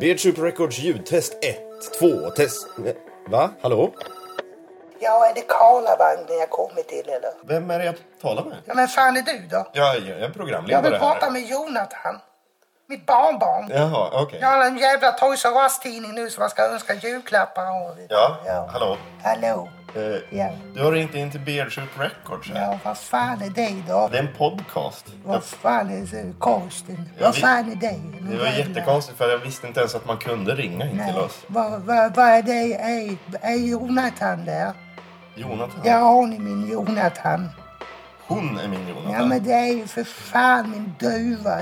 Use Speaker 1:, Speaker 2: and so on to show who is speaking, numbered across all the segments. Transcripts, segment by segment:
Speaker 1: Beardsoup Records ljudtest 1, 2, test... Va? Hallå?
Speaker 2: Ja, är det Karlavagnen jag kommer till eller?
Speaker 1: Vem är det jag talar med?
Speaker 2: Ja, men fan är du då?
Speaker 1: Jag, jag är programledare
Speaker 2: Jag vill
Speaker 1: här.
Speaker 2: prata med Jonathan. Mitt barnbarn.
Speaker 1: Jaha, okej.
Speaker 2: Jag har en jävla Toys R Us-tidning nu som man ska önska julklappar och...
Speaker 1: Ja, hallå.
Speaker 2: Hallå?
Speaker 1: Eh,
Speaker 2: Ja.
Speaker 1: Du har ringt in till Beardsoup Records här.
Speaker 2: Ja, vad fan är det då?
Speaker 1: Det är en podcast. Jag,
Speaker 2: Vad fan är det? konsten?
Speaker 1: Ja,
Speaker 2: vad
Speaker 1: vi-
Speaker 2: fan är det?
Speaker 1: det var jättekonstigt för jag visste inte ens att man kunde ringa in
Speaker 2: Nej.
Speaker 1: till oss.
Speaker 2: Vad, vad, vad är det? Är, är Jonathan där?
Speaker 1: Jonathan.
Speaker 2: Ja, har ni min Jonathan?
Speaker 1: Hon är min Jonathan.
Speaker 2: Ja, men det är ju för fan min duva.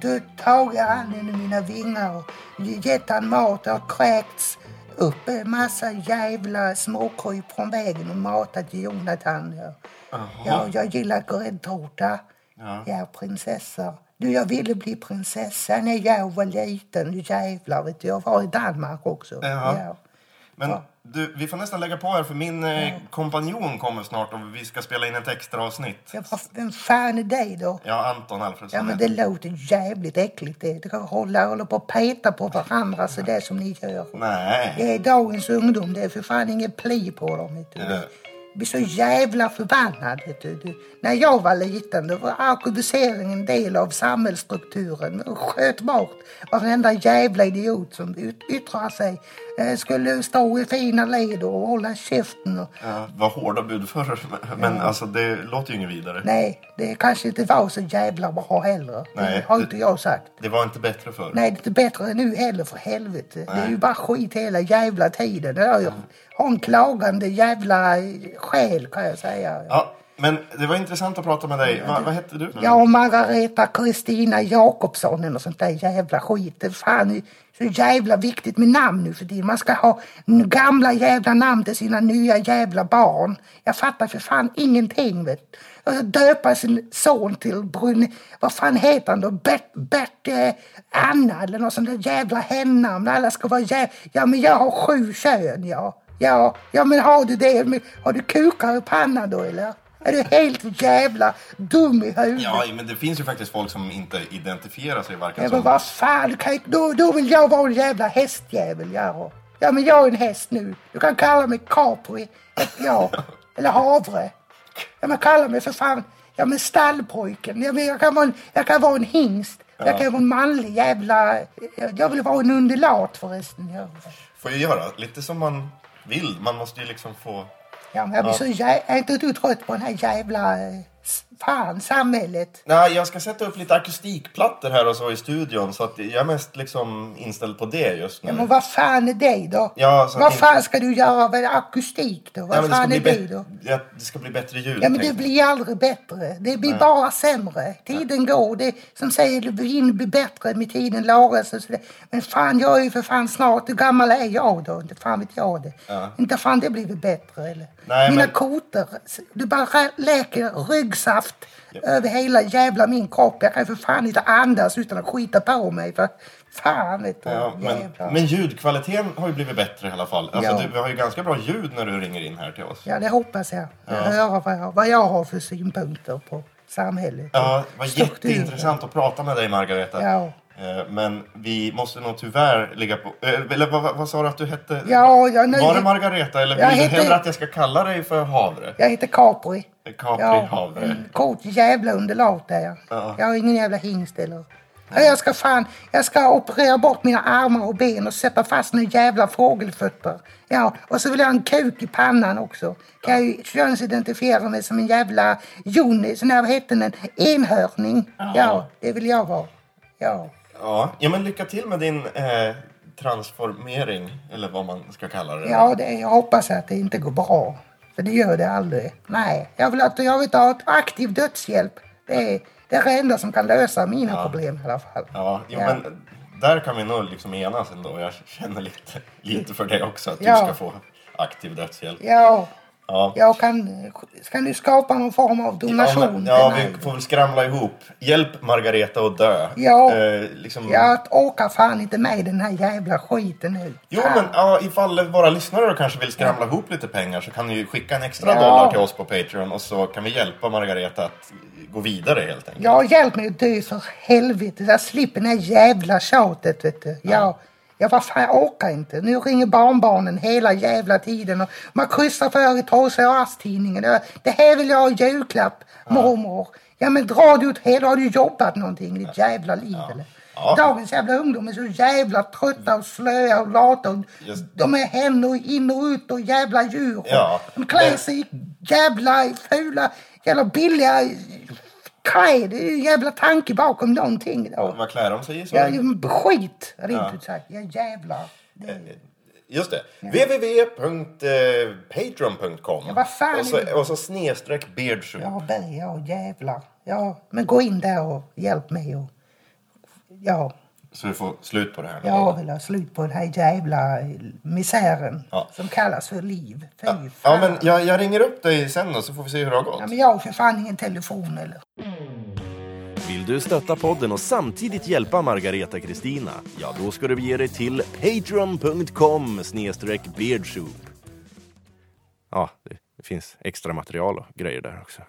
Speaker 2: Du tagit han under mina vingar och gett han mat och kräkts upp en massa jävla småkryp från vägen och matat Jonathan. Ja. Ja, jag gillar gräddtårta.
Speaker 1: Ja.
Speaker 2: ja, prinsessor. Du, jag ville bli prinsessa när jag var liten. Du jävlar, vet du. Jag var i Danmark också.
Speaker 1: Jaha.
Speaker 2: Ja.
Speaker 1: Men du, vi får nästan lägga på här för min eh, kompanjon kommer snart och vi ska spela in ett extra avsnitt.
Speaker 2: Ja, vad- vem fan är det då?
Speaker 1: Ja, Anton Alfredsson.
Speaker 2: Ja, men det
Speaker 1: heter-
Speaker 2: låter jävligt äckligt. Det Det kan hålla, hålla på och peta på varandra så det som ni gör.
Speaker 1: Nej.
Speaker 2: Det är dagens ungdom. Det är för fan ingen pli på dem. Vet du.
Speaker 1: Ja.
Speaker 2: Jag blir så jävla förbannad. Vet du. Du, När jag var liten då var alkoholisering en del av samhällsstrukturen. Och sköt bort varenda jävla idiot som yt- yttrar sig. Eh, Skulle stå i fina led och hålla käften. Och,
Speaker 1: Ja, vad hårda bud förr. Men alltså, det låter ju inget vidare.
Speaker 2: nej, det kanske inte var så jävla bra heller.
Speaker 1: Nej.
Speaker 2: Det har inte jag sagt.
Speaker 1: Det var inte bättre förr.
Speaker 2: Nej, det är inte bättre nu heller för helvete. Det är ju bara skit hela jävla tiden. Jag har en klagande jävla själ kan jag säga.
Speaker 1: Ja, men det var intressant att prata med dig. Va, vad hette du?
Speaker 2: Jag och Margareta Kristina Jakobsson eller sånt där jävla skit. Det är fan så jävla viktigt med namn nu för tiden. Man ska ha n- gamla jävla namn till sina nya jävla barn. Jag fattar för fan ingenting vet du. Och så döpa sin son till Brun... Vad fan heter han då? Bert... Bert eh, Anna eller något sånt där jävla hennamn. Alla ska vara jävla... Ja men jag har sju kön ja. Ja, ja men har du det? Men Har du kukar i pannan då eller? Är du helt jävla dum i huvudet?
Speaker 1: Ja, alltså. men det finns ju faktiskt folk som inte identifierar sig varken
Speaker 2: Ja,
Speaker 1: som...
Speaker 2: men vad fan, du kan inte, då, då vill jag vara en jävla hästjävel. Ja, ja men jag är en häst nu. Du kan kalla mig Capri. Ja, eller havre. Ja, men kalla mig för fan ja, men stallpojken. Ja, men jag, kan vara en, jag kan vara en hingst. Jag kan vara en manlig jävla... Jag, jag vill vara en undulat förresten. Ja,
Speaker 1: Får ju göra lite som man vill. Man måste ju liksom få...
Speaker 2: ja men jag blir så jä... Är inte du trött på den här jävla... eh, s- Fan, samhället.
Speaker 1: Nej, jag ska sätta upp lite akustikplattor här och så i studion så att jag är mest liksom inställd på det just nu.
Speaker 2: Ja, men vad fan är det då?
Speaker 1: Mm. Ja, så-
Speaker 2: vad fan ska du göra med akustik då? Vad
Speaker 1: Nej, men
Speaker 2: fan är
Speaker 1: bli
Speaker 2: det
Speaker 1: bätt-
Speaker 2: då?
Speaker 1: ja, det ska bli bättre ljud.
Speaker 2: Ja, men det
Speaker 1: tänkte
Speaker 2: blir aldrig bättre. Det blir bara sämre. Tiden går. Det som säger det blir blir bättre med tiden lagas och sådär. Men fan, jag är ju för fan snart... Hur gammal är jag då? Inte fan vet jag det. Inte fan det blir väl bättre eller?
Speaker 1: Nej,
Speaker 2: Mina
Speaker 1: men-
Speaker 2: kotor. Du bara rä- läker ryggsaft över hela jävla min kropp. Jag kan för fan inte andas utan att skita på mig. För fan vet du.
Speaker 1: jag. Ja,
Speaker 2: Jävlar.
Speaker 1: men, men ljudkvaliteten har ju blivit bättre i alla fall. Alltså,
Speaker 2: Ja.
Speaker 1: du, vi har ju ganska bra ljud när du ringer in här till oss.
Speaker 2: Ja, det hoppas jag. Jag hör vad jag, vad jag har för synpunkter på samhället.
Speaker 1: Ja, det var
Speaker 2: Strukturer.
Speaker 1: jätteintressant att prata med dig, Margareta.
Speaker 2: Ja.
Speaker 1: Eh, Men vi måste nog tyvärr ligga på... eh, Eller vad, vad- vad sa du att du hette?
Speaker 2: Ja, jag nöjer-
Speaker 1: Var det Margareta eller vill
Speaker 2: Jag
Speaker 1: du
Speaker 2: heter-
Speaker 1: hellre att jag ska kalla dig för Havre?
Speaker 2: Jag heter Capri.
Speaker 1: Capri Havre.
Speaker 2: en kort jävla underlag där.
Speaker 1: Ja.
Speaker 2: Jag har ingen jävla hingst eller... Ja, Jag ska fan, jag ska operera bort mina armar och ben och sätta fast några jävla fågelfötter. Ja, och så vill jag ha en kuk i pannan också. Kan jag ju könsidentifiera mig som en jävla Joni, sån här, vad hette den, enhörning. Ja, det vill jag vara. Ja.
Speaker 1: Ja. ja, men lycka till med din eh, transformering, eller vad man ska kalla det.
Speaker 2: Ja, det, jag hoppas att det inte går bra. För det gör det aldrig. Nej, jag vill, att, jag vill ha ett aktiv dödshjälp. Det är det, är det enda som kan lösa mina problem i alla fall.
Speaker 1: Ja, jo,
Speaker 2: Ja.
Speaker 1: men där kan vi nog liksom enas ändå. Jag känner lite, lite för det också, att
Speaker 2: Ja.
Speaker 1: du ska få aktiv dödshjälp.
Speaker 2: Ja,
Speaker 1: Ja.
Speaker 2: jag kan... Kan du skapa någon form av donation?
Speaker 1: Ja, men, ja,
Speaker 2: till mig?
Speaker 1: vi får väl skramla ihop. Hjälp Margareta att dö.
Speaker 2: Ja.
Speaker 1: Eh, liksom,
Speaker 2: Jag orkar fan inte med den här jävla skiten nu.
Speaker 1: Jo,
Speaker 2: Fan.
Speaker 1: men ja, ifall våra lyssnare då kanske vill skramla ihop lite pengar så kan ni ju skicka en extra
Speaker 2: Ja.
Speaker 1: dollar till oss på Patreon och så kan vi hjälpa Margareta att gå vidare helt enkelt.
Speaker 2: Ja, hjälp mig att dö för helvete. Jag slipper det här jävla tjatet, vet du. Ja. Ja, vad fan, jag orkar inte. Nu ringer barnbarnen hela jävla tiden och man kryssar för i Torsås-tidningen. Ja, Det här vill jag ha i julklapp, mormor. Ja, men dra du åt helvete. Har du jobbat någonting i ditt jävla liv eller?
Speaker 1: Ja.
Speaker 2: Dagens jävla ungdom är så jävla trötta och slöa och lata. Och
Speaker 1: Just-
Speaker 2: de är hem och in och ut och jävla djur.
Speaker 1: Ja.
Speaker 2: De klär sig i jävla fula, jävla billiga kläder. Det är ju jävla tanke bakom någonting. Då.
Speaker 1: Vad klär de sig i? Så
Speaker 2: Ja, ju- skit, rent ut sagt. Ja, jävlar. Det,
Speaker 1: Just det. eh, www.patreon.com.
Speaker 2: Ja, vad fan
Speaker 1: och, så,
Speaker 2: är det?
Speaker 1: och så snedstreck beardsoup.
Speaker 2: ja, det, ja, jävlar. Ja, men gå in där och hjälp mig. Och, ja,
Speaker 1: Så vi får slut på det här.
Speaker 2: jag vill ha slut på den här jävla misären
Speaker 1: Ja.
Speaker 2: som kallas för liv. Fy fan.
Speaker 1: Ja, men jag, jag ringer upp dig sen då, så får vi se hur det har gått.
Speaker 2: ja, men jag har för fan ingen telefon eller.
Speaker 3: Vill du stötta podden och samtidigt hjälpa Margareta Kristina? Ja, då ska du bege dig till patreon.com snedstreck beardsoup. Ja, det finns extra material och grejer där också.